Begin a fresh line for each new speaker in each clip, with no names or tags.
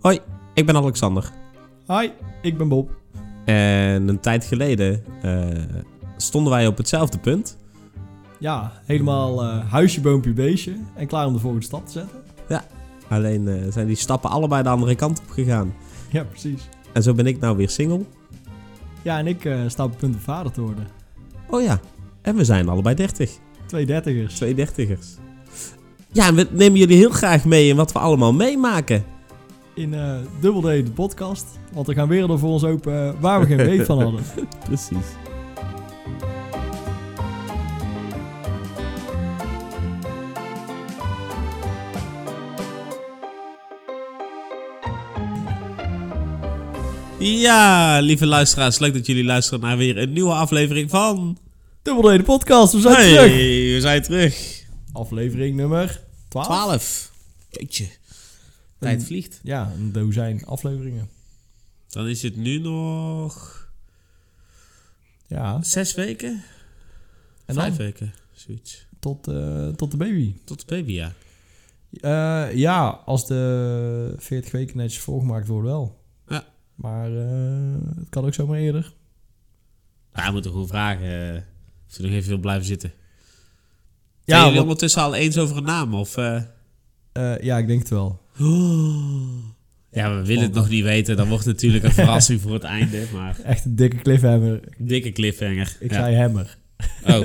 Hoi, ik ben Alexander.
Hi, ik ben Bob.
En een tijd geleden eh, stonden wij op hetzelfde punt.
Ja, helemaal eh, huisje, boompje, beestje. En klaar om de volgende stap te zetten.
Alleen eh, zijn die stappen allebei de andere kant op gegaan.
Ja, precies.
En zo ben ik nou weer single.
Ja, en ik eh, sta op het punt om vader te worden.
Oh ja, en we zijn allebei 30.
Twee dertigers.
Twee dertigers. Ja, en we nemen jullie heel graag mee in wat we allemaal meemaken.
In eh Double D, de podcast. Want er gaan werelden voor ons open eh, waar we geen weet van hadden.
Precies. Ja, lieve luisteraars, leuk dat jullie luisteren naar weer een nieuwe aflevering van.
Double D, de podcast. We zijn
hey,
terug.
we zijn terug.
Aflevering nummer 12.
12. Keetje. Tijd vliegt.
Ja, een dozijn afleveringen.
Dan is het nu nog
Ja,
zes weken?
en
Vijf
dan
weken, zoiets.
tot, eh, tot de baby.
Tot de baby, ja.
Eh, ja, als de 40 weken netjes volgemaakt worden wel.
Ja.
Maar eh, het kan ook zomaar eerder.
Ja, we moeten gewoon vragen eh, of ze nog even wil blijven zitten. Ja,
Ja,
Zijn jullie
want-
ondertussen al eens over een naam? Of, eh,
Eh, ja, ik denk het wel.
Ja, we willen het nog niet weten. Dan wordt het natuurlijk een verrassing voor het einde. Maar
Echt een dikke cliffhanger.
dikke cliffhanger.
Ik
Ja.
zei hammer.
Oh,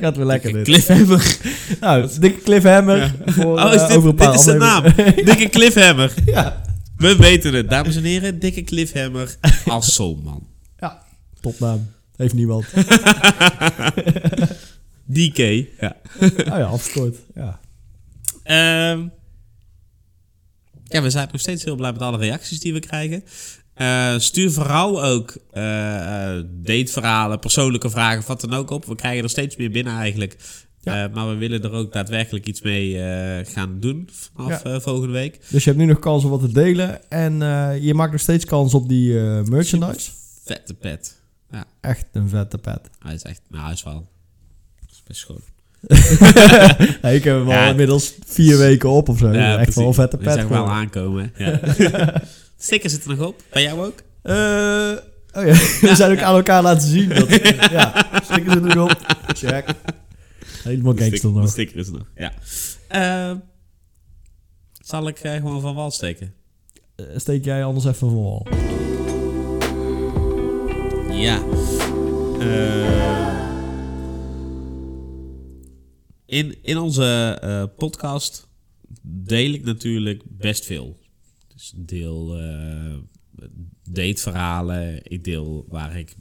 Gaat weer
dikke
lekker dit.
cliffhanger.
Nou, dikke cliffhammer voor
Oh, is
eh,
dit,
over een paar
dit is de naam.
afleveringen.
Dikke cliffhanger.
ja,
We weten het. Dames en heren, dikke cliffhanger als Solman.
topnaam. Heeft niemand.
DK. Ja.
oh ja, afgekort. Ja.
Ehm, ja, we zijn nog steeds heel blij met alle reacties die we krijgen. Eh, stuur vooral ook eh, eh, dateverhalen, persoonlijke vragen, of wat dan ook op. We krijgen er steeds meer binnen eigenlijk.
Ja.
Eh, maar we willen er ook daadwerkelijk iets mee eh, gaan doen vanaf eh, volgende week.
Dus je hebt nu nog kans om wat te delen. En eh, je maakt nog steeds kans op die eh, merchandise.
Vette pet.
Echt een vette pet.
Hij is echt, nou hij is wel is best schoon.
Ja, ik heb hem
Ja.
al inmiddels vier weken op of zo.
Ja,
Echt
precies.
wel een vette
Die
pet.
zag wel
geworden.
aankomen. hè. Ja. Sticker zit er nog op. Bij jou ook?
Eh, oh ja, we zijn ook aan elkaar laten zien. Dat, ja, stikken ze er nog op. Check. Helemaal
De
gangster
sticker, de
nog.
sticker is er nog. Ja. Ehm, zal ik eh, gewoon van wal steken?
Eh, Steek jij anders even voor wal.
Ja. Eh, in, in onze eh, podcast deel ik natuurlijk best veel. Dus ik deel eh dateverhalen. Ik deel waar ik,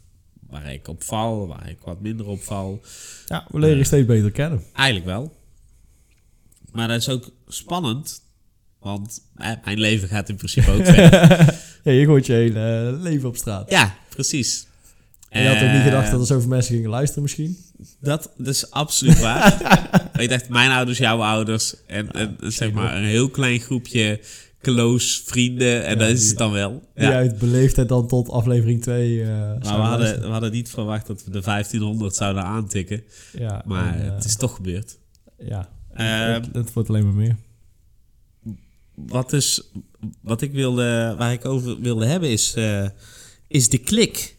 waar ik op val, waar ik wat minder op val.
Ja, we leren je steeds beter kennen.
Eigenlijk wel. Maar dat is ook spannend. Want eh, mijn leven gaat in principe ook verder.
Ja, je gooit je hele eh, leven op straat.
Ja, precies.
En je had ook niet
Eh,
gedacht dat er zoveel mensen gingen luisteren misschien?
Dat, dat is absoluut waar. ik dacht, mijn ouders, jouw ouders. En, en zeg maar een heel klein groepje close vrienden. En
Ja,
dat is
die-
het dan wel.
Die
Ja.
uit beleefdheid dan tot aflevering eh, 2
Maar we hadden, we hadden niet verwacht dat we de 1500 zouden aantikken.
Ja,
Maar
en, eh,
het is toch gebeurd.
Ja,
Ehm,
het, het wordt alleen maar meer.
wat, dus, wat ik wilde, waar ik over wilde hebben is, eh, is de klik.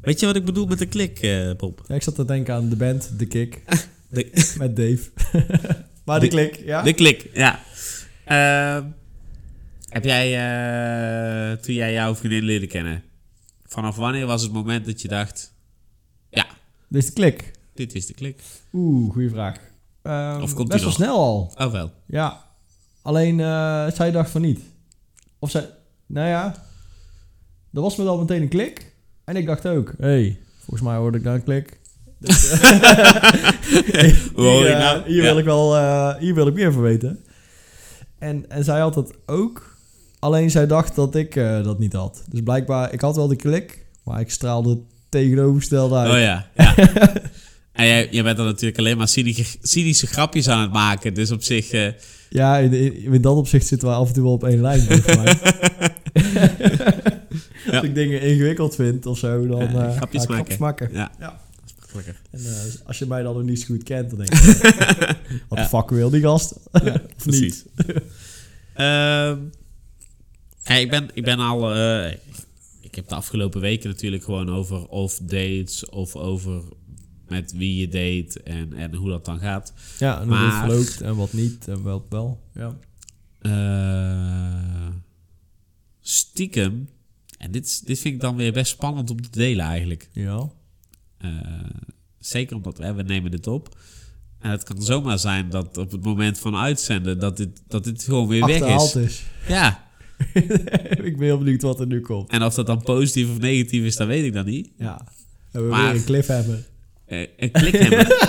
Weet je wat ik bedoel met de klik, eh Bob?
Ja, ik zat te denken aan de band The Kick
De,
met Dave. maar de,
De-
klik, ja?
de klik, ja. Ehm, heb jij, eh, toen jij jouw vriendin leerde kennen, vanaf wanneer was het moment dat je dacht, ja,
Dit is Dus de klik.
dit is de klik?
Oeh, goede vraag. Ehm,
Of komt
best
die
wel
nog?
snel al.
Oh wel.
Ja. Alleen eh, zij dacht van niet. Of zij... Nou ja. Er was me dan meteen een klik. En ik dacht ook. Hé, hey, volgens mij hoorde ik daar een klik. Dus, eh,
Hoe hoor
hier,
je
eh,
nou?
hier
Ja.
wil ik wel... eh, hier wil ik meer van weten. En, en zij had dat ook. Alleen zij dacht dat ik eh, dat niet had. Dus blijkbaar, ik had wel de klik. Maar ik straalde het tegenovergestelde uit.
Oh ja, ja. En jij, jij bent dan natuurlijk alleen maar cynische, cynische grapjes aan het maken. Dus op zich... eh,
Ja, in, in, in dat opzicht zitten we af en toe wel op één lijn. volgens mij. Als ik dingen ingewikkeld vind of zo, dan
Ja,
eh ga ik
grapjes maken.
grapjes maken.
ja,
Ja.
dat is makkelijker.
En eh, als je mij dan nog niet zo goed kent, dan denk ik... eh, wat de fuck wil die gast? of niet?
Precies. Ehm, Hey, ik, ben, ik ben al. eh, ik heb de afgelopen weken natuurlijk gewoon over of dates of over met wie je date en, en hoe dat dan gaat.
Ja, en hoe
Maar-
het loopt en wat niet en wat wel. Ja.
Eh, stiekem. En dit, is- dit vind ik dan weer best spannend om te delen eigenlijk.
Ja.
Eh, zeker omdat hè, we nemen dit op. En het kan zomaar zijn dat op het moment van uitzenden dat dit, dat dit gewoon weer weg
Achterhaald
is.
is.
Ja.
ik ben heel benieuwd wat er nu komt.
En of dat dan positief of negatief is, dat weet ik dan niet.
Ja. Hebben we
Maar-
weer een cliffhanger.
Eh, een klikhammer.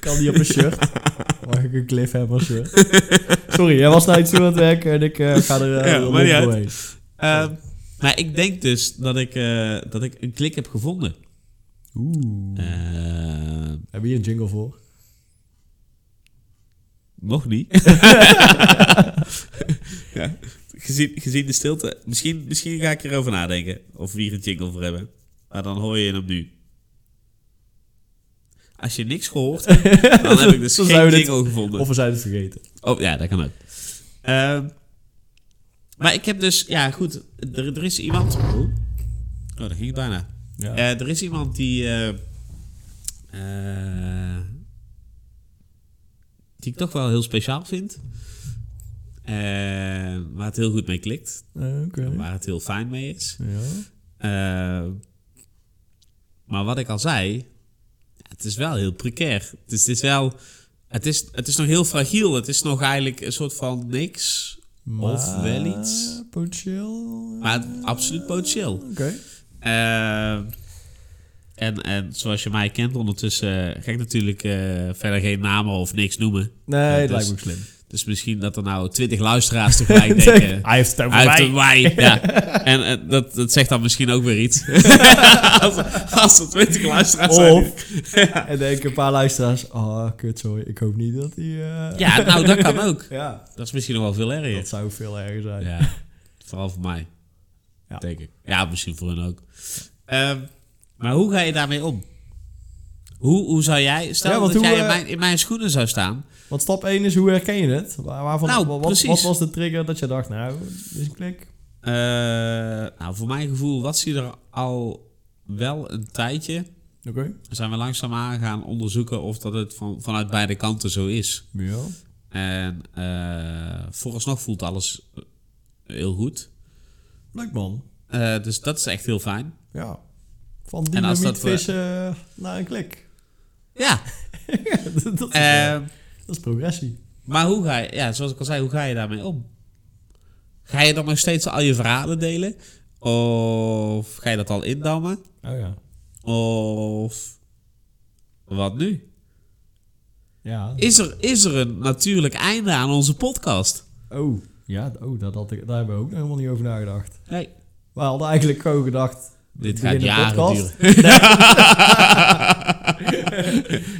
Kan die op een shirt? Mag ik een cliffhanger shirt? Sorry, jij was nou iets aan het werk en ik eh, ga er
Ja,
eh
maar niet
rond
uit.
doorheen.
Ehm, maar ik denk dus dat ik, eh, dat ik een klik heb gevonden.
Oeh.
Eh,
Heb je hier een jingle voor?
nog niet. ja. gezien, gezien de stilte. Misschien, misschien ga ik erover nadenken. Of we hier een jingle voor hebben. Maar dan hoor je hem nu. Als je niks gehoord hebt, dan heb ik dus
Dan zijn
geen
we dit-
jingle gevonden.
Of we zijn het vergeten.
Oh, ja, dat kan ook. Ehm, maar ik heb dus... Ja, goed. Er, er is iemand... Oh, oh dat ging het bijna.
Ja.
Eh, er is iemand die... eh, eh, die ik toch wel heel speciaal vind. En waar het heel goed mee klikt.
Eh, Oké.
en Waar het heel fijn mee is.
Ja.
Eh, maar wat ik al zei, ja, het is wel heel precair. Het is, het is wel, het is, het is nog heel fragiel. Het is nog eigenlijk een soort van niks. Of wel iets.
Maar Potentieel.
Maar het- absoluut potentieel.
Oké.
Eh, en, en zoals je mij kent ondertussen, eh, ga ik natuurlijk eh, verder geen namen of niks noemen.
Nee,
dus-
het lijkt me ook slim.
Dus misschien dat er nou twintig luisteraars tegelijk denken.
Hij heeft het over
Uit
mij.
de wei, ja. En eh, dat, dat zegt dan misschien ook weer iets. als, als er twintig luisteraars zijn.
Of, en denken een paar luisteraars, oh kut, sorry, ik hoop niet dat die... eh,
Ja, nou, dat kan ook.
ja,
Dat is misschien nog wel veel
dat
erger.
zou veel erger zijn.
Ja, vooral voor mij.
Ja.
Denk ik. Ja, misschien voor hen ook. Ehm, maar hoe ga je daarmee om? Hoe, hoe zou jij... Stel
Ja, want
dat
hoe,
jij in
eh,
mijn, in mijn schoenen zou staan.
Want stap 1 is, hoe herken je het? Waar- waarvan,
Nou,
wa- wat,
precies.
wat was de trigger dat je dacht, nou, dit is een klik?
Eh, nou, voor mijn gevoel was hij er al wel een tijdje.
Oké.
Zijn we langzaamaan gaan onderzoeken of dat het van, vanuit beide kanten zo is.
Ja.
En eh, vooralsnog voelt alles eh, heel goed.
Leuk man.
Eh, dus dat is echt heel fijn.
Ja. Van
En als dat we-
dynamietvissen naar een klik.
Ja,
dat, is, eh,
eh,
dat is progressie.
maar hoe ga je, ja, zoals ik al zei, hoe ga je daarmee om? Ga je dan nog steeds al je verhalen delen? Of ga je dat al indammen?
Oh ja.
Of wat nu?
Ja.
Is er, is er een natuurlijk einde aan onze podcast?
Oh. Ja, oh, dat had ik, daar hebben we ook nog helemaal niet over nagedacht.
Nee,
We hadden eigenlijk gewoon gedacht...
dit
we
gaat
beginnen een
jaren
podcast.
duren.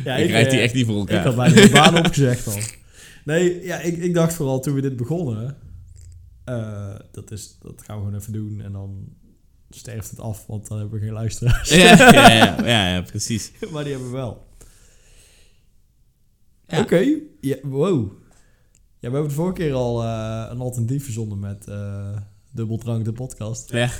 Ja,
ik krijg die
eh,
echt niet voor
Ik had
elkaar.
bijna de baan opgezegd al. Nee, ja, ik, ik dacht vooral toen we dit begonnen... eh, dat, is, dat gaan we gewoon even doen en dan sterft het af, want dan hebben we geen luisteraars.
Ja, ja, ja, ja, ja, precies.
maar die hebben we wel.
Ja.
Oké, ja, wow. Ja, we hebben de vorige keer al eh, een alternatief verzonnen met eh Dubbeldrank de podcast.
Ja.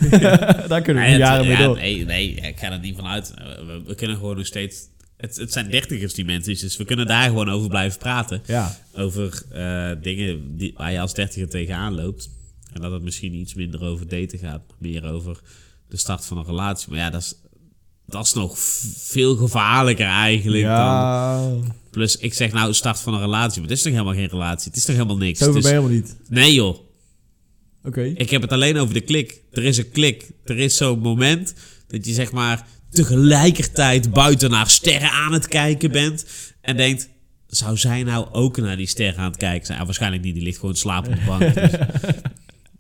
Daar kunnen we
Nee, het-
jaren mee
ja,
door.
Nee, nee, ik ga er niet van uit. We, we- we kunnen gewoon nog steeds... Het, het zijn dertigers die mensen, dus we kunnen daar gewoon over blijven praten.
Ja,
Over eh, dingen die, waar je als dertiger tegenaan loopt. En dat het misschien iets minder over daten gaat. Meer over de start van een relatie. Maar ja, dat is, dat is nog v- veel gevaarlijker eigenlijk dan...
ja.
Plus, ik zeg nou start van een relatie, maar het is toch helemaal geen relatie. Het is toch helemaal niks.
zover
Dus-
ben je helemaal niet.
nee joh.
Oké,
Ik heb het alleen over de klik. Er is een klik. Er is zo'n moment dat je zeg maar tegelijkertijd buiten naar sterren aan het kijken bent. En denkt, zou zij nou ook naar die sterren aan het kijken zijn? Ah, waarschijnlijk niet, die ligt gewoon in slaap op de bank.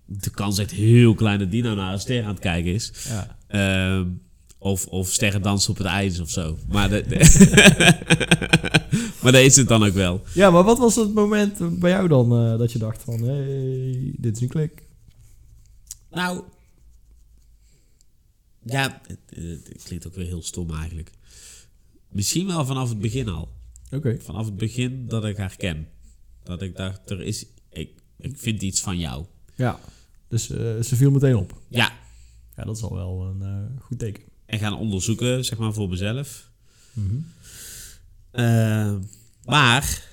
Dus de kans is echt heel klein dat die nou naar een ster aan het kijken is.
ja.
Ehm, of, of sterren dansen op het ijs of zo. Maar, de, maar dat is het dan ook wel.
Ja, maar wat was het moment bij jou dan eh, dat je dacht van... hey, dit is een klik.
Nou. Ja, het, het- het klinkt ook weer heel stom eigenlijk. Misschien wel vanaf het begin al.
Oké.
Vanaf het begin dat ik haar ken. Dat ik dacht, er is. Ik, ik vind iets van jou.
Ja. Dus eh, ze viel meteen op.
Ja.
Ja, dat is al wel een eh, goed teken.
En gaan onderzoeken, zeg maar, voor mezelf. Eh, maar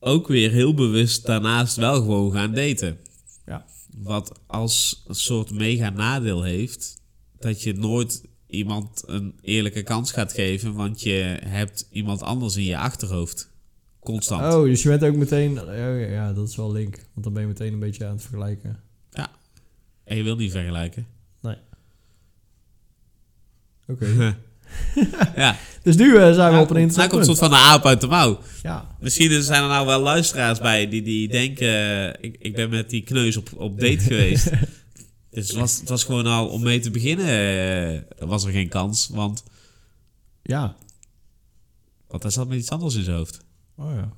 ook weer heel bewust daarnaast wel gewoon gaan daten.
Ja.
Wat als een soort mega nadeel heeft dat je nooit iemand een eerlijke kans gaat geven, want je hebt iemand anders in je achterhoofd. Constant.
Oh, dus je bent ook meteen... oh ja, ja, dat is wel link. Want dan ben je meteen een beetje aan het vergelijken.
En je wilt niet vergelijken.
Oké.
ja,
dus nu eh, zijn we op een
nou
interessant
komt een soort van
punt.
de aap uit de mouw.
Ja.
Misschien er zijn er nou wel luisteraars bij die, die denken... eh, ik, ik ben met die kneus op, op date geweest. dus het was, het was gewoon al om mee te beginnen eh, was er geen kans. Want,
Ja.
want hij zat met iets anders in zijn hoofd.
Oh ja.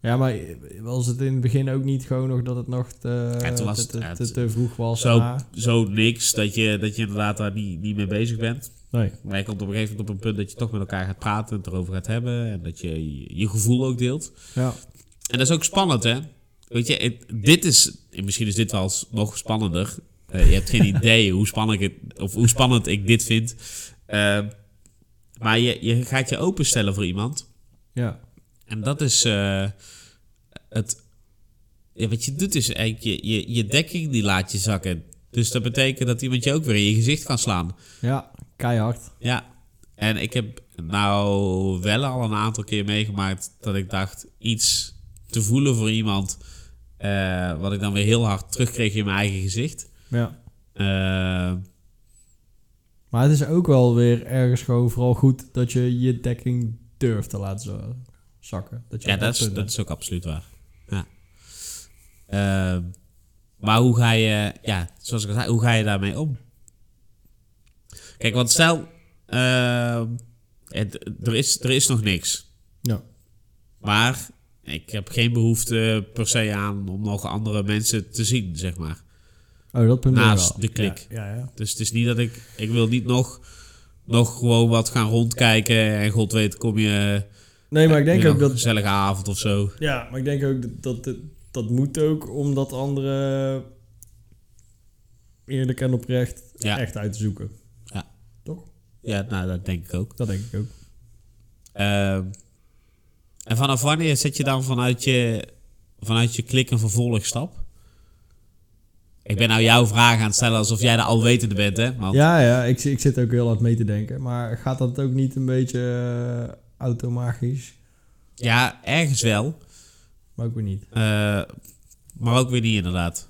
Ja, maar eh, was het in het begin ook niet gewoon nog dat het nog te,
Ja, toen was
te,
het-
te-
ja,
te-
het-
te vroeg was? Ah.
Zo,
daarna?
zo niks dat je, dat je inderdaad daar niet, niet mee bezig bent.
Nee.
Maar je komt op een gegeven moment op een punt dat je toch met elkaar gaat praten... en het erover gaat hebben en dat je je- je gevoel ook deelt.
Ja.
En dat is ook spannend, hè? Weet je, het- dit is... Misschien is dit wel s- nog spannender. Eh, je hebt geen idee hoe spannend ik, het- of hoe spannend ik dit vind. Eh, maar je, je gaat je openstellen voor iemand.
Ja.
En dat is eh, het... Ja, wat je doet is eigenlijk... Je, je, je dekking die laat je zakken. Dus dat betekent dat iemand je ook weer in je gezicht kan slaan.
Ja. Keihard.
Ja, en ik heb nou wel al een aantal keer meegemaakt dat ik dacht iets te voelen voor iemand. eh, wat ik dan weer heel hard terugkreeg in mijn eigen gezicht.
Ja.
Eh,
Maar het is ook wel weer ergens gewoon vooral goed dat je je dekking durft te laten zo- zakken. Dat je
ja,
op
dat is,
punt
dat
bent.
is ook absoluut waar. Ja. Eh, maar hoe ga je, ja, zoals ik al zei, hoe ga je daarmee om? Kijk, want stel, eh, het- er, is, er is nog niks.
Ja.
Maar ik heb geen behoefte per se aan om nog andere mensen te zien, zeg maar.
Oh, dat punt ben je
Naast
wel.
de klik.
Ja, ja. ja.
Dus het is niet dat ik... Ik wil niet nog, nog gewoon wat gaan rondkijken en god weet kom je...
Nee, maar ik denk
weer
ook
nog een
dat...
gezellige avond of zo.
Ja, maar ik denk ook dat- dat dat, dat moet ook omdat anderen eerlijk en oprecht
Ja.
echt uit te zoeken.
Ja, nou, dat denk ik ook.
Dat denk ik ook.
Ehm, en vanaf wanneer zet je dan vanuit je, vanuit je klik een vervolgstap? Ik ben nou jouw vraag aan het stellen alsof jij de alwetende bent, hè? Want,
Ja, ja, ik, zi- ik zit ook heel hard mee te denken. Maar gaat dat ook niet een beetje eh, automagisch?
ja, ergens wel.
Maar ook weer niet.
Eh, maar ook weer niet, inderdaad.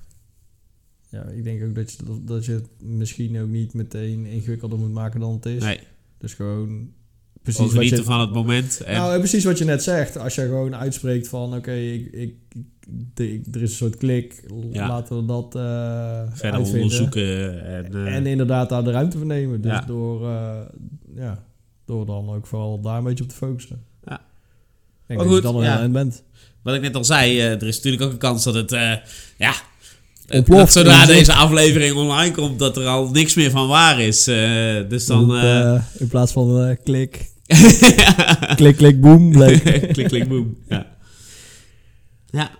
Ja, ik denk ook dat je, dat je het misschien ook niet meteen ingewikkelder moet maken dan het is.
Nee,
Dus gewoon
precies
precies wat,
genieten
je,
van het moment. En,
nou, eh, precies wat je net zegt. Als je gewoon uitspreekt van oké, ik, ik, de- ik- er is een soort klik. l-
Ja.
Laten we dat eh
verder
uitvinden.
onderzoeken. En, eh,
En inderdaad daar de ruimte voor nemen. Dus
Ja.
door, eh, ja, door dan ook vooral daar een beetje op te focussen.
Ja.
Ik Denk
Maar
dat je
goed,
dan al
ja.
heel eind bent.
wat ik net al zei, eh, er is natuurlijk ook een kans dat het... eh, ja, eh,
Ontploft
dat zodra
en zo.
deze aflevering online komt, dat er al niks meer van waar is. Eh, dus dan...
Roep,
eh,
eh, in plaats van eh, klik, klik, klik, boom, blik.
klik, klik, boem. Ja. ja,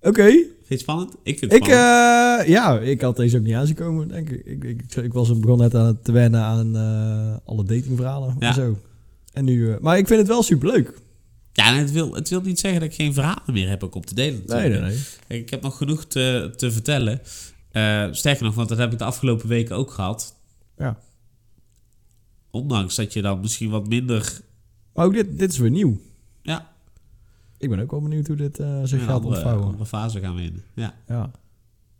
Oké.
vind je het spannend? Ik vind het
Ik,
spannend.
eh, ja, ik had deze ook niet aan zien komen, denk ik. Ik, ik, ik was begon net aan het te wennen aan eh, alle datingverhalen
Ja.
en zo. En nu, eh, maar ik vind het wel superleuk.
ja, en het wil, het wil niet zeggen dat ik geen verhalen meer heb ook om te delen.
Nee, nee, nee.
Kijk, Ik heb nog genoeg te, te vertellen. Eh, sterker nog, want dat heb ik de afgelopen weken ook gehad.
Ja.
Ondanks dat je dan misschien wat minder...
Maar ook dit, dit is weer nieuw.
Ja.
Ik ben ook wel benieuwd hoe dit eh, zich
een
gaat
andere-
ontvouwen.
andere fase gaan we in. Ja.
Ja.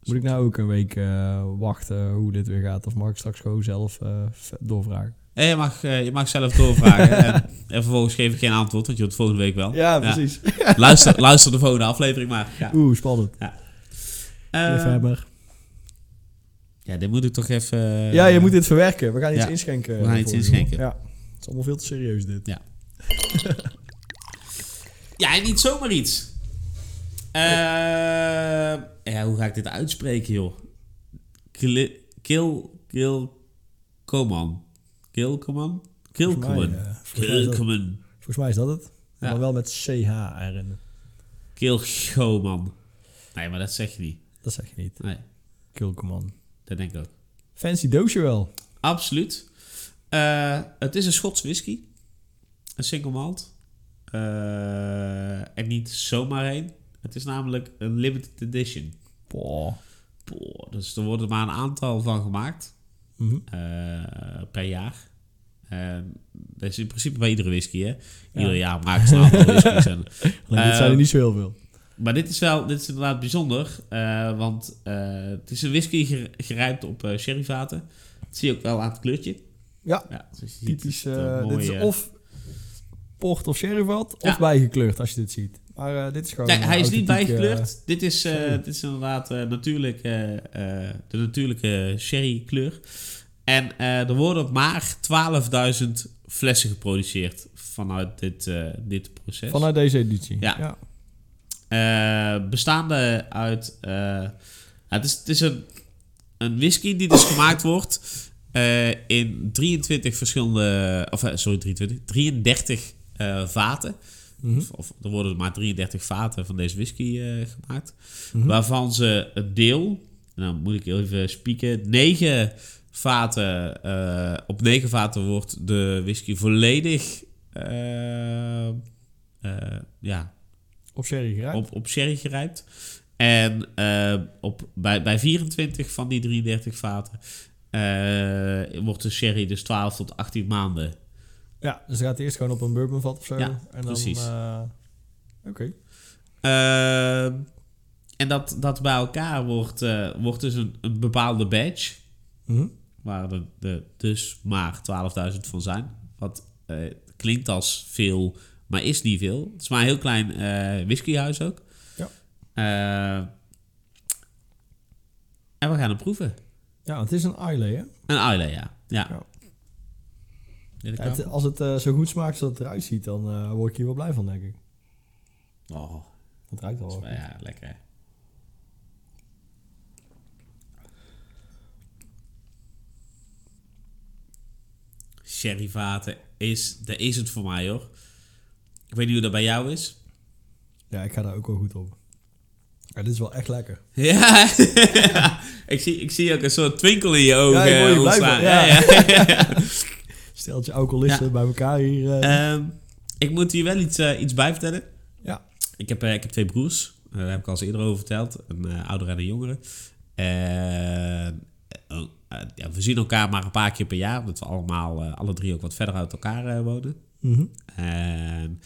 Moet ik nou ook een week eh, wachten hoe dit weer gaat? Of mag ik straks gewoon zelf eh, v- doorvragen?
En je, mag, eh, je mag zelf doorvragen. en, en vervolgens geef ik geen antwoord, want je hoort het volgende week wel.
precies.
Luister, luister de volgende aflevering maar. Ja.
Oeh, spannend.
Eh,
Cliffhanger.
ja, dit moet ik toch even...
ja, je moet dit verwerken. We gaan iets
Eh, ja.
inschenken.
We gaan iets
voor je, man.
inschenken.
Ja. Het is allemaal veel te serieus dit.
Ja, en niet zomaar iets. Eh, ja, hoe ga ik dit uitspreken, joh? Kil... Kil... Kil... Koman. Kil... Koman? Kil...
Volgens mij,
Koman.
eh, volgens mij is
Kil...
dat-
Koman.
Volgens mij is dat het.
Ja.
Maar wel met CH erin.
Kil... Goman. Nee, maar dat zeg je niet.
Dat zeg je niet.
Nee,
Kulkeman.
dat denk ik ook.
Fancy doosje wel.
Absoluut. Eh, het is een Schots whisky. Een single malt. Eh, en niet zomaar één. Het is namelijk een limited edition.
Boah.
Boah, dus er worden maar een aantal van gemaakt
Mhm.
eh, per jaar. En dat is in principe bij iedere whisky, hè? Ieder jaar maken ze een aantal whiskies. En,
Alleen, dit
Eh,
zijn er niet zo heel veel.
maar dit is wel, dit is inderdaad bijzonder, eh, want eh, het is een whisky ger- gerijpt op eh, sherryvaten. Dat zie je ook wel aan het kleurtje.
Ja.
dus je ziet
Typisch.
het, eh,
eh, dit is
mooie-
of port of sherryvat, of
Ja.
bijgekleurd als je dit ziet. Maar eh, dit is gewoon.
Nee,
een
hij is niet
authentieke,
bijgekleurd. dit, is, eh,
sherry.
dit is inderdaad eh, natuurlijk, eh, eh, de natuurlijke sherrykleur. En eh, er worden maar 12.000 flessen geproduceerd vanuit dit, eh, dit proces.
eh, vanuit deze editie.
Ja. Eh, bestaande uit. eh, ja, het is, het is een, een whisky die dus gemaakt wordt eh, in 23 verschillende. Of eh, sorry, 23, 33 eh, vaten.
Mhm.
Of, of er worden maar 33 vaten van deze whisky eh, gemaakt.
Mhm.
Waarvan ze een deel, en dan moet ik heel even spieken, 9 vaten, eh, op 9 vaten wordt de whisky volledig eh, eh, ja,
Op sherry gerijpt.
op, op sherry gerijpt. En eh, op, bij, bij 24 van die 33 vaten eh, wordt de sherry dus 12 tot 18 maanden.
Ja, dus het gaat eerst gewoon op een bourbonvat of zo.
Ja,
en dan,
precies.
eh, Oké.
Eh, en dat, dat bij elkaar wordt, eh, wordt dus een, een bepaalde badge.
Mhm.
Waar er de, dus maar 12.000 van zijn. Wat eh, klinkt als veel, maar is niet veel. Het is maar een heel klein eh, whiskyhuis ook.
Ja.
Eh, en we gaan hem proeven.
Ja, het is een Islay, hè?
Een uilen, ja. Ja.
Ja.
Ja, dat
Ja,
kan.
het- als het eh, zo goed smaakt als het eruit ziet, dan eh, word ik hier wel blij van, denk ik.
Oh,
Het ruikt al.
dat is- ja, lekker. Sherryvaten is, dat is het voor mij hoor. Ik weet niet hoe dat bij jou is.
Ja, ik ga daar ook wel goed op. Ja, dit is wel echt lekker.
Ja, ik, zie, ik zie ook een soort twinkel in je
Ja, ik
ogen
word hier
eh,
blij van,
ontstaan.
ja.
ja, ja.
Steltje alcoholisten bij elkaar hier. eh.
Ehm, ik moet hier wel iets, eh, iets bij vertellen.
Ja.
Ik heb, eh, ik heb twee broers. Eh, daar heb ik al eens eerder over verteld. Een eh oudere en een jongere. En, eh, oh, eh, ja, we zien elkaar maar een paar keer per jaar. Omdat we allemaal, eh, alle drie ook wat verder uit elkaar eh, wonen.
Mhm.
En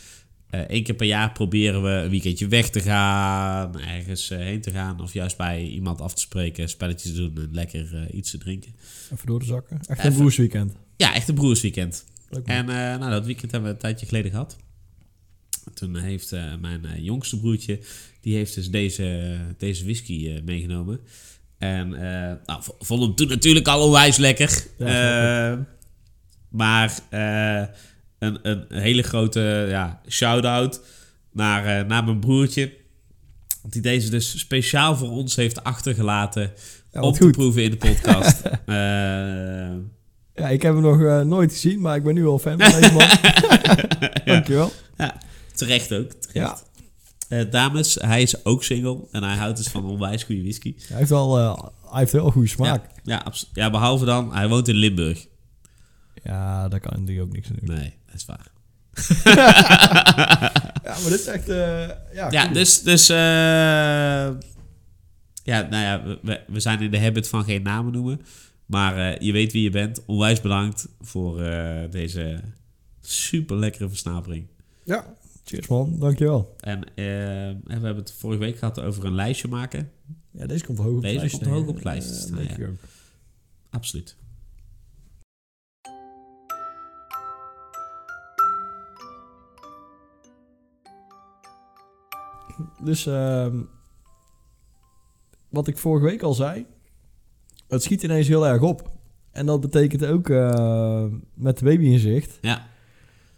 eh één keer per jaar proberen we een weekendje weg te gaan, ergens eh, heen te gaan. Of juist bij iemand af te spreken, spelletjes te doen en lekker eh, iets te drinken.
Even door de zakken. Echt een
Even.
broersweekend.
Ja, echt een broersweekend.
Leuk man.
En eh, nou, dat weekend hebben we een tijdje geleden gehad. Toen heeft eh, mijn eh, jongste broertje, die heeft dus deze, deze whisky eh, meegenomen. En eh nou, v- vond hem toen natuurlijk al onwijs lekker.
Ja,
Eh, maar eh, een, een hele grote ja, shout-out naar, eh, naar mijn broertje. Die deze dus speciaal voor ons heeft achtergelaten om
Ja, wat
te
goed.
proeven in de podcast. Eh,
Ja, ik heb hem nog eh, nooit gezien, maar ik ben nu al fan van deze man. Dankjewel.
terecht ook, terecht.
Ja,
Eh, dames, hij is ook single en hij houdt dus van onwijs goede whisky.
hij heeft wel, eh, hij heeft wel goede smaak. Ja.
Ja, abso- ja, behalve dan, hij woont in Limburg.
daar kan natuurlijk ook niks aan doen.
Nee, dat is waar.
Ja, maar dit is echt... eh, ja,
Ja,
cool.
dus, dus eh, ja, nou ja, we- we, we zijn in de habit van geen namen noemen. Maar eh, je weet wie je bent. Onwijs bedankt voor eh, deze super lekkere versnapering.
Ja, cheers man. Dankjewel.
En eh, en we hebben het vorige week gehad over een lijstje maken.
Ja, deze komt hoog op
Deze
het lijstje.
komt hoog
denk
op
ik.
het lijstje
Eh,
staan,
denk
ja.
ik ook.
Absoluut.
Dus ehm, wat ik vorige week al zei, het schiet ineens heel erg op. En dat betekent ook eh, met de baby in zicht.
Ja.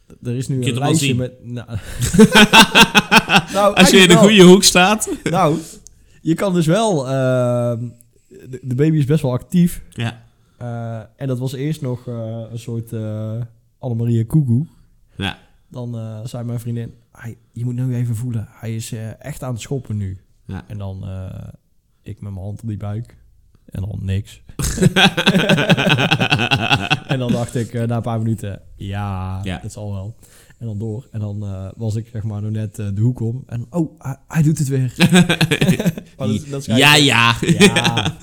D- Er is nu
Je
een
kunt hem al
lijstje
zien.
met. Nou,
Als je in de
eigenlijk Nou, wel.
goede hoek staat.
nou, je kan dus wel. ehm, de, de baby is best wel actief.
Ja.
Eh, en dat was eerst nog eh, een soort eh Annemarie Koekoe.
Ja.
Dan eh, zei mijn vriendin, hij, je moet nu even voelen. Hij is eh, echt aan het schoppen nu.
Ja.
En dan eh, ik met mijn hand op die buik. En dan niks. En dan dacht ik eh, na een paar minuten, ja,
Ja.
dat zal wel. En dan door. En dan eh, was ik zeg maar nog net eh, de hoek om. En oh, hij, hij doet het weer. Maar dat- dat schrijf
ja,
ik-
ja.
Ja.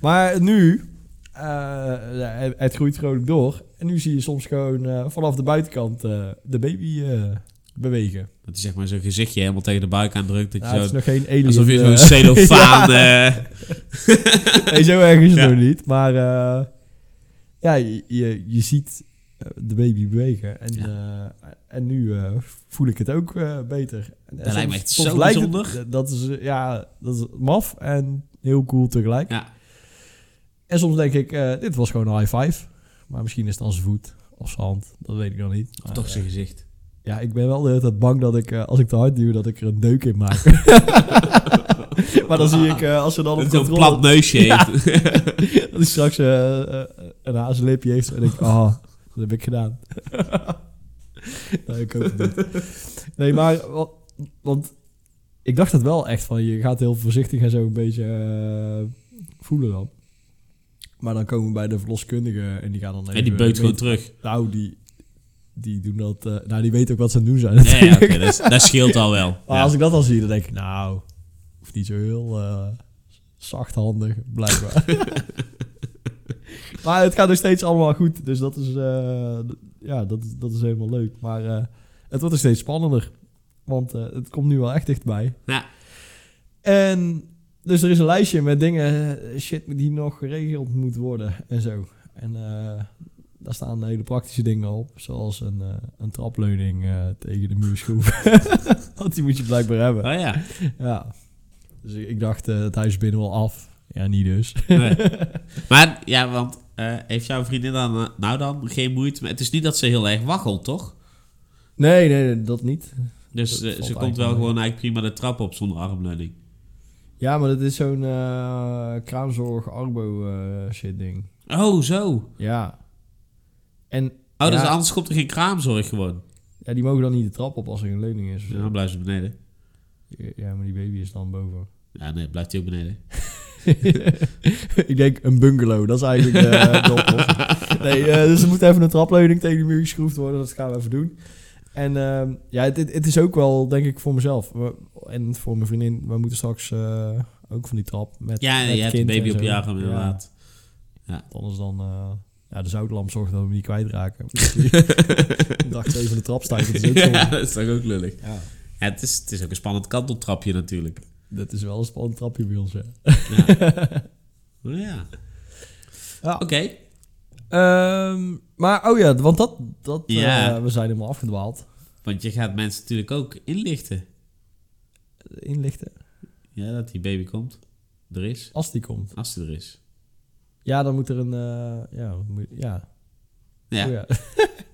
Maar nu, eh, het- het groeit vrolijk door. En nu zie je soms gewoon eh, vanaf de buitenkant eh, de baby eh, bewegen.
Dat hij zeg maar zijn gezichtje helemaal tegen de buik aandrukt. Dat je
Ja, het is
zo,
nog geen alien.
alsof je
eh,
zo'n cellofaan... eh,
nee, zo erg is het
Ja.
nog niet. Maar eh, ja, je, je, je ziet eh, de baby bewegen. En, eh, en nu eh, voel ik het ook eh, beter. En
Dat lijkt me echt zo
het-
bijzonder.
dat, is, eh, ja, dat is maf en heel cool tegelijk.
Ja.
En soms denk ik, eh, dit was gewoon een high five. Maar misschien is het dan zijn voet of zijn hand. Dat weet ik nog niet.
Of
Maar,
toch
eh,
zijn gezicht.
ja, ik ben wel de hele tijd bang dat ik, eh, als ik te hard duw, dat ik er een deuk in maak. maar dan zie ik, eh, als ze dan op
Dat hij zo'n
controle...
plat neusje
Ja.
heeft.
Dat hij straks eh, eh, een hazenlipje heeft en denk ik, ah, dat heb ik gedaan. nee, ik hoop het niet. Nee, maar, wa- want ik dacht dat wel echt van, je gaat heel voorzichtig en zo een beetje eh, voelen dan. Maar dan komen we bij de verloskundige en die gaan dan even...
En die beukt gewoon
weten-
terug.
Nou, die, die doen dat... eh, nou, die weten ook wat ze aan het doen zijn.
Ja, ja, oké, dat, is- dat scheelt al wel.
Maar
Ja.
Ah, als ik dat al zie, dan denk ik, nou, hoeft niet zo heel eh, zachthandig, blijkbaar. maar het gaat nog steeds allemaal goed, dus dat is, eh, d- ja, dat is, dat is helemaal leuk. Maar eh, het wordt nog steeds spannender, want eh, het komt nu wel echt dichtbij.
Ja.
En dus er is een lijstje met dingen, eh, shit, die nog geregeld moet worden en zo. En eh, daar staan hele praktische dingen op, zoals een, eh, een trapleuning eh, tegen de muur schroeven. Want die moet je blijkbaar hebben.
Oh ja.
Ja. Dus ik, ik dacht, eh, het huis is binnen wel af. Ja, niet dus.
Nee. Maar ja, want eh, heeft jouw vriendin dan, eh, nou dan geen moeite mee? Het is niet dat ze heel erg waggelt, toch?
Nee, nee, nee, dat niet.
Dus
Dat
eh,
valt
ze komt
eigenlijk
wel
wel
gewoon eigenlijk prima de trap op zonder armleuning.
Ja, maar dat is zo'n eh, kraamzorg arbo eh, shit ding.
Oh, zo. Oh,
Ja. En
dus
Ja.
anders komt er geen kraamzorg gewoon.
ja, die mogen dan niet de trap op als er een leuning is. of
Ja,
zo.
dan blijft ze beneden.
Ja, maar die baby is dan boven.
Ja, nee, blijft hij ook beneden.
ik denk een bungalow, dat is eigenlijk eh, de oplossing. Nee, eh, dus er moet even een trapleuning tegen de muur geschroefd worden, dat gaan we even doen. En ehm, ja, het, het- het is ook wel, denk ik, voor mezelf we- en voor mijn vriendin. We moeten straks eh, ook van die trap met
Ja,
met
je hebt een
kind
baby
en
op
zo.
je arm
Ja,
inderdaad.
want anders dan, eh, ja, de zoutlamp zorgt dat we hem niet kwijtraken. Ik dacht twee van de trap staan, dat is ook zo.
Ja, dat is toch ook lullig.
Ja,
Ja, het, is, het is ook een spannend kanteltrapje natuurlijk.
dat is wel een spannend trapje bij ons, hè.
Oh, Ja.
Ja.
Oké.
Ehm, maar, oh ja, want dat, dat eh,
Ja.
we zijn helemaal afgedwaald.
Want je gaat mensen natuurlijk ook inlichten.
Inlichten,
Ja, dat die baby komt. Er is.
als die komt.
Als die er is.
Ja, dan moet er een... eh, ja, wat moet- ja.
Ja.
Oh ja.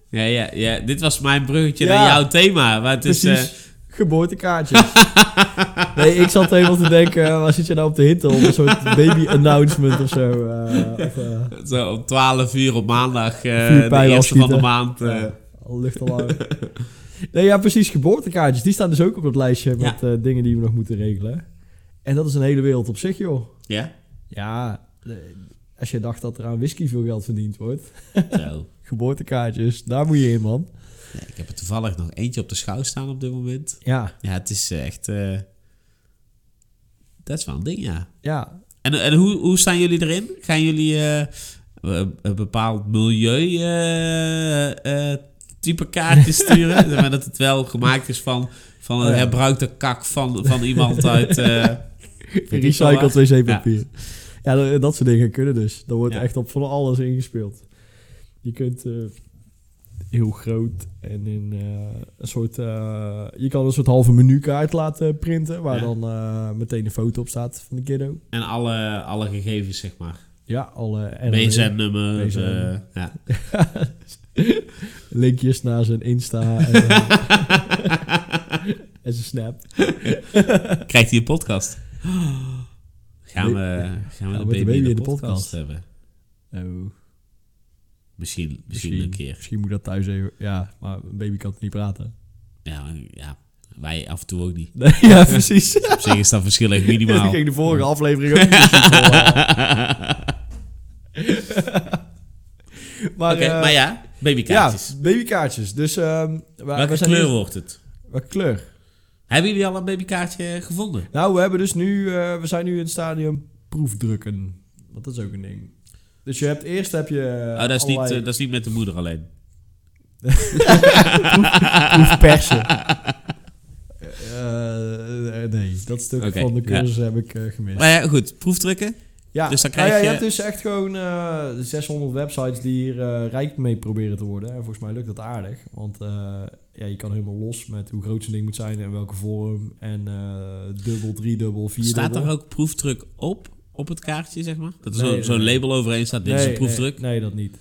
Ja, ja, ja, dit was mijn bruggetje
Ja.
naar jouw thema. Maar het is,
Precies.
eh,
Geboortekaartjes. nee, ik zat helemaal te denken, eh, waar zit je nou op te hitten? Op een soort baby-announcement of zo. eh, of, eh,
zo om 12 uur op maandag, eh,
Vier
de
pijlen
eerste van de
afschieten.
maand. eh.
ja, al luchtalarm. nee, ja, precies. Geboortekaartjes. Die staan dus ook op dat lijstje met eh, dingen die we nog moeten regelen. En dat is een hele wereld op zich, joh.
ja?
Ja, eh, als je dacht dat er aan whisky veel geld verdiend wordt.
Zo.
Geboortekaartjes, daar moet je in, man.
Ja, ik heb er toevallig nog eentje op de schouw staan op dit moment.
Ja,
Ja, het is eh, echt... eh, dat is wel een ding, ja.
ja.
En, en hoe, hoe staan jullie erin? Gaan jullie eh, een een bepaald milieu eh, eh, type kaartje sturen? Zeg maar dat het wel gemaakt is van, van een
Oh ja.
herbruikte kak van, van iemand uit... eh, weet ik veel
Recycled
waar.
wc-papier. Ja, dat, dat soort dingen kunnen dus. Daar wordt
Ja.
echt op van alles ingespeeld. Je kunt eh, heel groot en in eh, een soort... eh, je kan een soort halve menukaart laten printen... waar
Ja.
dan eh, meteen een foto op staat van de kiddo.
En alle, alle gegevens, zeg maar.
Ja, alle E. NOE.
BSN-nummer.
BSN.
eh, ja.
linkjes naar zijn Insta en, eh, en zijn Snap.
Krijgt hij een podcast? Gaan we, gaan we de, baby in de, podcast, hebben?
Oh,
Misschien, misschien, een keer.
Misschien moet dat thuis even... Ja, maar een baby kan toch niet praten.
Ja, maar- ja. Wij af en toe ook niet.
Nee, ja, precies.
Op zich is dat verschil echt
Die
minimaal.
ging de vorige aflevering ook niet zo vol, hè. Maar,
Oké,
eh,
maar ja,
ja,
babykaartjes.
babykaartjes. Dus ehm waar-
Welke
waar zijn
kleur
nu-
wordt het?
Welke kleur?
Hebben jullie al een babykaartje gevonden?
Nou, we hebben dus nu... eh, we zijn nu in het stadium proefdrukken. Want dat is ook een ding. Dus je hebt eerst heb je...
oh, dat is, niet, eh, dat is niet met de moeder alleen. eh,
persen. Eh, nee, dat stuk
Oké,
van de
ja.
cursus heb ik eh, gemist.
Maar ja, goed. Proefdrukken.
Ja,
Dus dan
nou
krijg
ja,
je-
hebt dus echt gewoon eh, 600 websites die hier eh, rijk mee proberen te worden. En volgens mij lukt dat aardig. Want eh, ja, je kan helemaal los met hoe groot zo'n ding moet zijn en welke vorm. En eh dubbel, driedubbel, vierdubbel.
Staat er ook proefdruk op, op het kaartje, zeg maar? Dat er
Nee,
zo-
nee,
zo'n
nee.
label overheen staat, dit
nee,
is een proefdruk.
Nee, nee, dat niet.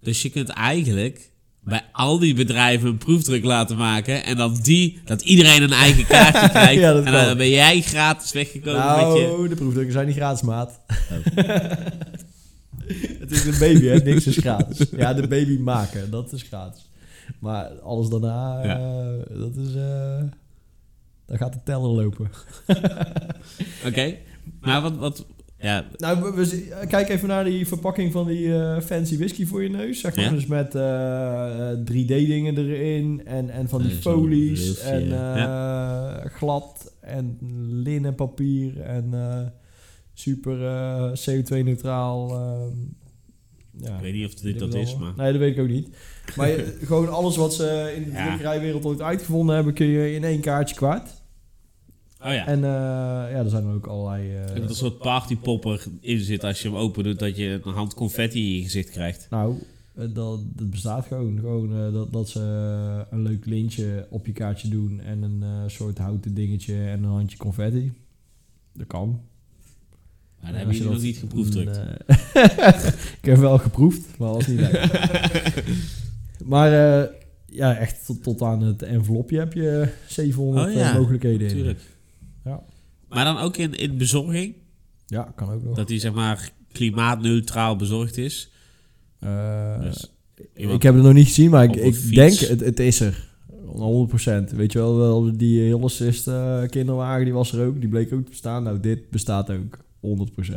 Dus je kunt eigenlijk bij al die bedrijven een proefdruk laten maken. En dan die, dat iedereen een eigen kaartje krijgt.
Ja, dat
en dan
kan.
ben jij gratis weggekomen met je...
nou, de proefdrukken zijn niet gratis, maat.
Oh.
Het is een baby, hè? Niks is gratis. Ja, de baby maken, dat is gratis. Maar alles daarna,
Ja.
eh, dat is... eh daar gaat de teller lopen.
Oké, maar wat... wat ja,
Nou, we, we zien- eh, kijk even naar die verpakking van die eh, fancy whisky voor je neus. Zeg maar
Ja.
dus met eh, eh, 3D-dingen erin en, en van die
Eh, zo'n
folies
rifje,
en eh,
ja.
glad en linnen papier en eh, super eh, CO2-neutraal. ehm, ja.
ik weet niet of dit
Dit
dat
wel.
is, maar...
Nee, dat weet ik ook niet. Maar je- gewoon alles wat ze in de
Ja.
drukkerijwereld ooit uitgevonden hebben, kun je in één kaartje kwaad.
Oh ja,
En eh, ja, er zijn ook allerlei... eh,
dat er een soort partypopper in zit als je hem open doet... dat je een hand confetti in je gezicht krijgt.
Nou, eh, dat, dat bestaat gewoon. Gewoon eh, dat, dat ze eh, een leuk lintje op je kaartje doen en een eh, soort houten dingetje en een handje confetti. Dat kan.
Maar
En
dat Nou, hebben
als je
jullie nog
dat- eh,
niet geproefdrukt.
Nee. ik heb wel geproefd, maar was niet lekker. maar eh, ja, echt tot, tot aan het envelopje heb je 700
Oh ja,
eh, mogelijkheden in.
Natuurlijk.
Ja.
Maar dan ook in, in bezorging?
Ja, kan ook nog.
Dat die zeg maar klimaatneutraal bezorgd is.
Eh,
Dus iemand-
ik heb het nog niet gezien, maar ik,
Op een
ik
fiets.
denk het, het is er. 100%. Weet je wel, wel die hele assist eh, kinderwagen, die was er ook. Die bleek ook te bestaan. Nou, dit bestaat ook. 100%.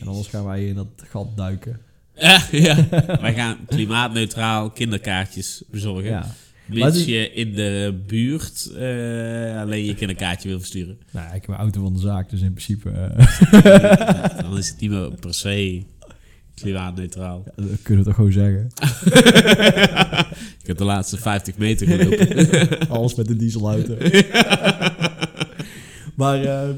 En anders gaan wij in dat gat duiken.
Ja, ja. Wij gaan klimaatneutraal kinderkaartjes bezorgen.
Ja. Maar
Mits
die-
je in de buurt eh, alleen je kinderkaartje wil versturen.
Nou, ja, ik heb mijn auto van de zaak, dus in principe... eh,
Dan is het niet meer per se klimaatneutraal.
dat kunnen we toch gewoon zeggen.
Ik heb de laatste 50 meter gelopen.
Alles met een dieselauto. maar ehm,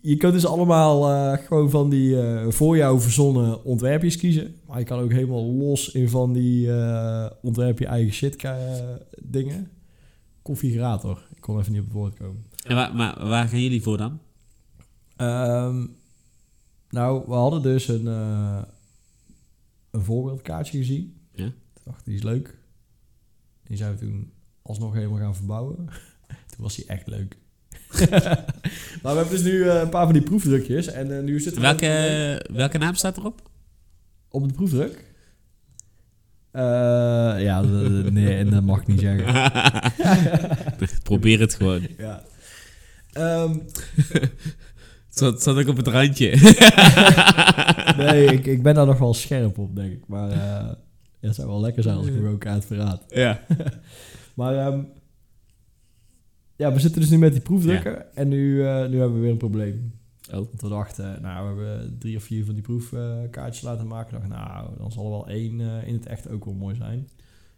je kunt dus allemaal eh, gewoon van die eh, voor jou verzonnen ontwerpjes kiezen. Maar je kan ook helemaal los in van die eh, ontwerp je eigen shit eh, dingen. Configurator. Ik kon even niet op het woord komen.
En waar, maar waar gaan jullie voor dan?
Ehm, nou, we hadden dus een, eh, een voorbeeldkaartje gezien.
Ja.
Toen dacht, die is leuk. Die zijn we toen alsnog helemaal gaan verbouwen. toen was die echt leuk. maar we hebben dus nu eh, een paar van die proefdrukjes. En eh, nu zitten we
Welke, welke naam staat erop?
op de proefdruk. Eh, ja, d- d- nee, dat mag ik niet zeggen.
Probeer het gewoon.
Ja. Ehm,
Het zat, zat ook op het randje.
nee, ik, ik ben daar nog wel scherp op, denk ik. Maar eh, ja, het zou wel lekker zijn als ik hem ook uit verraad.
ja.
Maar ehm, ja, we zitten dus nu met die proefdrukken. En nu, eh, nu hebben we weer een probleem.
Oh.
Want we dachten, nou, we hebben drie of vier van die proefkaartjes laten maken. Dacht, nou, dan zal er wel één eh, in het echt ook wel mooi zijn.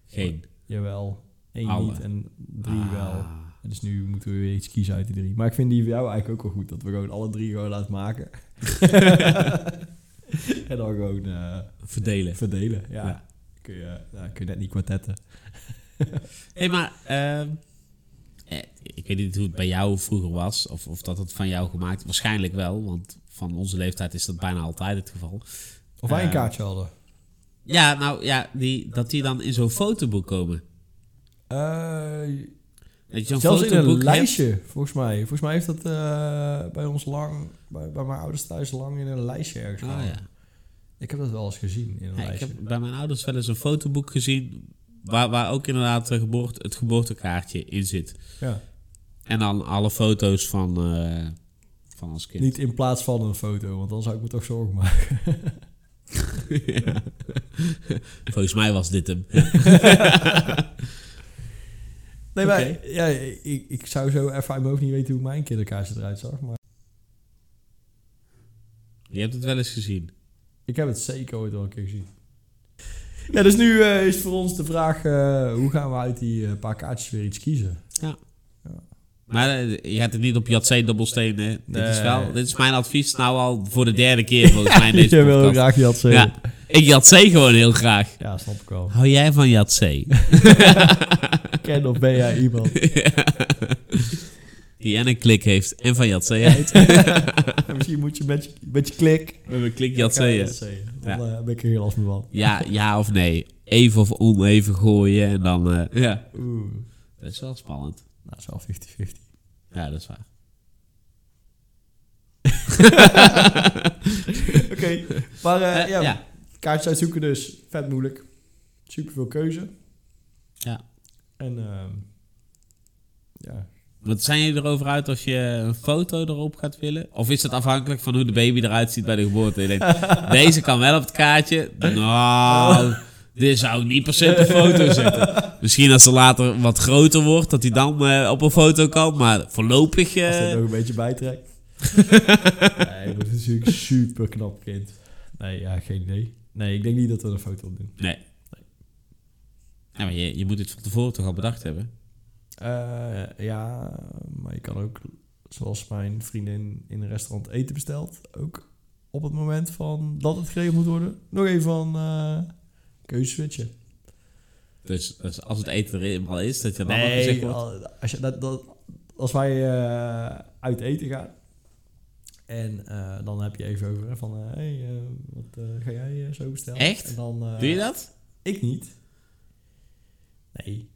Geen.
Jawel, één
Alle.
niet en drie
Ah.
wel. En dus nu moeten we weer iets kiezen uit die drie. Maar ik vind die voor jou eigenlijk ook wel goed. Dat we gewoon alle drie gewoon laten maken. en dan gewoon eh,
Verdelen.
verdelen. Ja.
Ja.
Kun, je, ja, kun je net niet kwartetten.
Hé, hey, maar ehm, eh, ik weet niet hoe het bij jou vroeger was, of, of dat het van jou gemaakt Waarschijnlijk wel, want van onze leeftijd is dat bijna altijd het geval.
Of wij een
Eh,
kaartje hadden.
Ja, nou ja, die, dat die dan in zo'n fotoboek komen.
Eh,
Dat je zo'n
Zelfs in
fotoboek
een
hebt.
lijstje, volgens mij. Volgens mij heeft dat eh, bij ons lang, bij, bij mijn ouders thuis lang in een lijstje ergens.
Ah,
gehangen.
ja.
Ik heb dat wel eens gezien in een
Ja, ik
lijstje.
heb bij mijn ouders wel eens een fotoboek gezien waar, waar ook inderdaad de geboorte, het geboortekaartje in zit.
Ja.
En dan alle foto's van, eh, van ons kind.
Niet in plaats van een foto, want dan zou ik me toch zorgen maken.
Ja. Volgens mij was dit hem.
Nee, maar
Oké.
ja, ik, ik zou zo even uit mijn hoofd niet weten hoe mijn kinderkaartje eruit zag. Maar
Je hebt het wel eens gezien.
ik heb het zeker ooit wel een keer gezien. Ja, dus nu eh, is voor ons de vraag, eh, hoe gaan we uit die eh, paar kaartjes weer iets kiezen?
Maar eh, je gaat het niet op Jatzee dobbelsteen, hè? Dit, is wel,
Nee.
dit is mijn advies nou al voor de derde keer volgens mij in deze
Je wil
podcast.
graag dat zeggen.
Ja,
Ja.
ik Jatzee gewoon heel graag.
snap ik wel.
Hou jij van Jatzee?
Ken of ben jij iemand?
Die en een klik heeft en van Jatzee houdt.
En Misschien moet je met je, met je klik...
Met een klik
Jatzee.
Jatzee.
Jatzee.
Ja.
Dan eh, ben ik er heel af me van.
Ja, ja of nee. Even of oneven gooien en dan... eh, ja.
Oeh.
Dat is wel spannend.
Nou, het is wel 50-50.
Ja, dat is waar.
Oké, maar eh,
Eh,
ja,
ja.
kaartjes uitzoeken dus vet moeilijk. Super veel keuze.
Ja.
En ehm ja.
Wat zijn jullie erover uit als je een foto erop gaat willen? Of is dat afhankelijk van hoe de baby eruit ziet bij de geboorte? Je denkt, deze kan wel op het kaartje. Nou, dit zou ik niet per se op de foto zetten. Misschien als ze later wat groter wordt, dat hij dan eh, op een foto kan. Maar voorlopig... eh,
Als je het nog een beetje bijtrekt. nee, dat is natuurlijk super knap kind. Nee, ja, geen idee. Nee, ik denk niet dat we er een foto op doen.
nee. Ja, maar je, je moet het van tevoren toch al bedacht hebben?
Eh, ja, maar je kan ook, zoals mijn vriendin in een restaurant eten bestelt, ook op het moment van dat het geregeld moet worden, nog even van eh, keuze switchen.
Dus, dus als het eten er eenmaal is, dat je dan wat gezegd
Nee,
wordt.
al- als, je, dat, dat, als wij eh, uit eten gaan. En eh, dan heb je even over hè, van, hé, hey, eh, wat eh, ga jij eh, zo bestellen?
Echt?
En dan, eh,
Doe je dat?
Ik niet. Nee.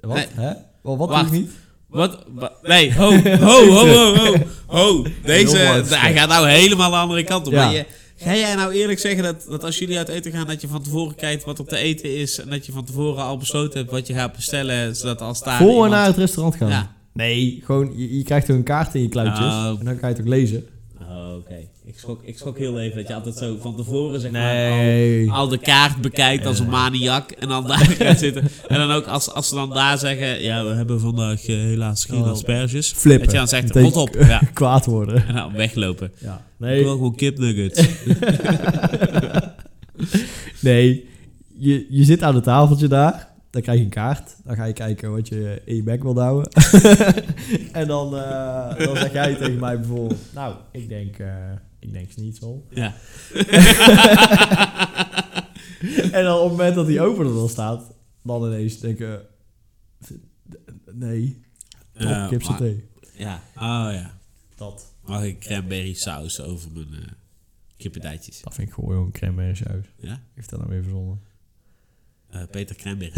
Wat?
Nee.
Hè? Wat, wat doe
Wacht.
ik niet?
Wat? Wa- Nee, ho, ho, ho, ho, ho. ho. Deze,
Heel mooi
hij gaat nou helemaal de andere kant op.
Ja.
Maar je, ga jij nou eerlijk zeggen dat, dat als jullie uit eten gaan, dat je van tevoren kijkt wat er te eten is en dat je van tevoren al besloten hebt wat je gaat bestellen, zodat als daar
Voor en
iemand-
naar het restaurant gaan.
Ja.
Nee, gewoon, je, je krijgt er een kaart in je kluitjes.
Nou.
En dan kan je het ook lezen.
Oh, Oké, ik, schrok, ik schrok heel even dat je altijd zo van tevoren zeg
Nee.
maar, al, al de kaart bekijkt als een maniak en dan daar gaat zitten. En dan ook als, als ze dan daar zeggen, ja we hebben vandaag eh, helaas geen
Oh.
asperges.
Flippen.
Dat je dan zegt,
Meteen
rot op. Ja.
Kwaad worden.
En dan weglopen.
Ja.
Ik
Nee.
wil gewoon kipnuggets.
Nee, je, je zit aan het tafeltje daar. Dan krijg je een kaart. Dan ga je kijken wat je in je bek wil houden. en dan, eh, dan zeg jij tegen mij bijvoorbeeld... Nou, ik denk, eh ik denk schnitzel.
ja.
En dan op het moment dat die open er dan staat... Dan ineens denken... Nee, top,
Eh, maar-
kipsaté.
Ja. Oh ja.
Dat.
Mag ik cranberry saus over mijn eh kippendijtjes?
Dat vind ik gewoon een crème saus.
Ja?
Heeft dat nou weer verzonnen?
Eh, Peter Cranberry.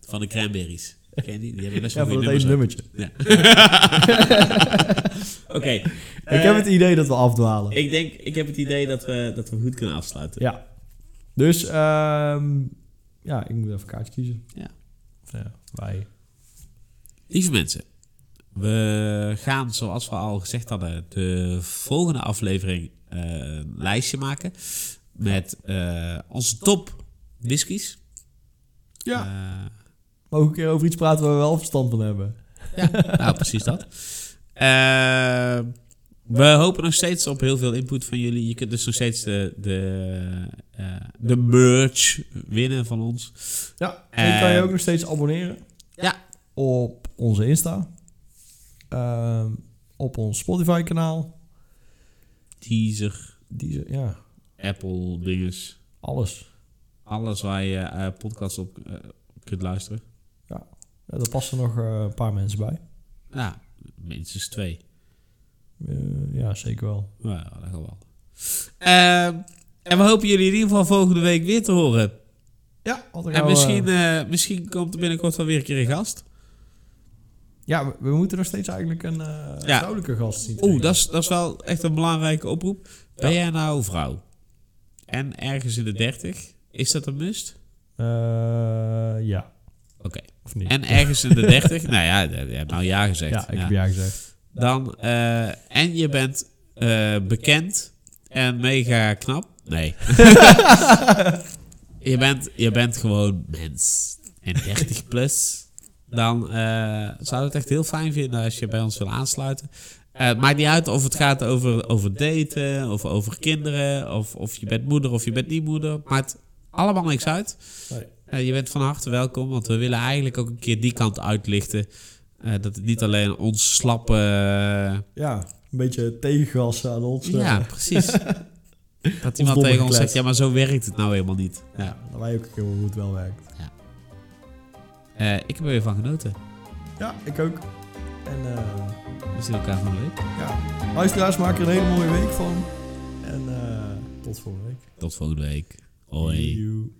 van de cranberries. Ken je die? Die hebben best wel
Ja,
ja,
voor
goede
dat ene
nummers. ook.
nummertje.
Ja. Oké.
ik heb het idee dat we afdwalen.
Ik denk, ik heb het idee dat we, dat we goed kunnen afsluiten.
Ja. Dus, ehm, ja, ik moet even een kaartje kiezen.
Ja.
Of nou ja, wij.
Lieve mensen, we gaan zoals we al gezegd hadden de volgende aflevering eh, een lijstje maken met eh, onze top whiskies.
Maar ook een keer over iets praten waar we wel verstand van hebben.
Eh, nou, precies dat. Eh, we hopen nog steeds op heel veel input van jullie. Je kunt dus nog steeds de, de, eh, de merch winnen van ons.
Ja. En je kan je
Ehm,
ook nog steeds abonneren.
Ja.
Op onze Insta. Ehm, op ons Spotify kanaal.
Teaser,
Die, ze- ja,
Apple dinges.
alles.
Alles waar je eh, podcasts op eh, kunt luisteren.
Ja, daar passen nog eh, een paar mensen bij.
Ja, Nou, minstens twee.
Eh, ja, zeker wel.
Nou, ja, dat gaat wel. Ehm, en we hopen jullie in ieder geval volgende week weer te horen.
Ja, want dan
En
gaan we-
misschien, eh, misschien komt er binnenkort wel weer een keer een gast.
ja, we, we moeten nog steeds eigenlijk een eh
Ja.
vrouwelijke gast zien. te
Oeh,
vinden.
dat is, dat is wel echt een belangrijke oproep. Ben jij nou vrouw? En ergens in de 30? Is dat een must?
Eh, ja,
Oké.
of niet?
En ergens in de 30, nou ja, je hebt nou ja gezegd.
ja, ik
Ja.
heb ja gezegd.
Dan, eh, en je bent eh, bekend en mega knap. Nee. je, bent, je bent gewoon mens. En 30 plus. Dan eh zou het echt heel fijn vinden als je bij ons wil aansluiten. Eh, het maakt niet uit of het gaat over, over daten, of over kinderen, of, of je bent moeder of je bent niet moeder. Maakt allemaal niks uit.
Nee.
Eh, je bent van harte welkom, want we willen eigenlijk ook een keer die kant uitlichten. Eh, dat het niet alleen ons slappe... eh,
Ja, een beetje tegengas aan ons.
ja,
eh,
precies. dat iemand
domme
tegen ons zegt,
geklets.
ja, maar zo werkt het nou helemaal niet. Ja.
dat wij ook heel goed wel werkt.
Eh, ik heb er weer van genoten.
Ja, ik ook. En eh,
We zien elkaar van de week.
ja, luisteraars, maak er een hele mooie week van. En eh, tot volgende week.
Tot volgende week. Hoi.
Joe.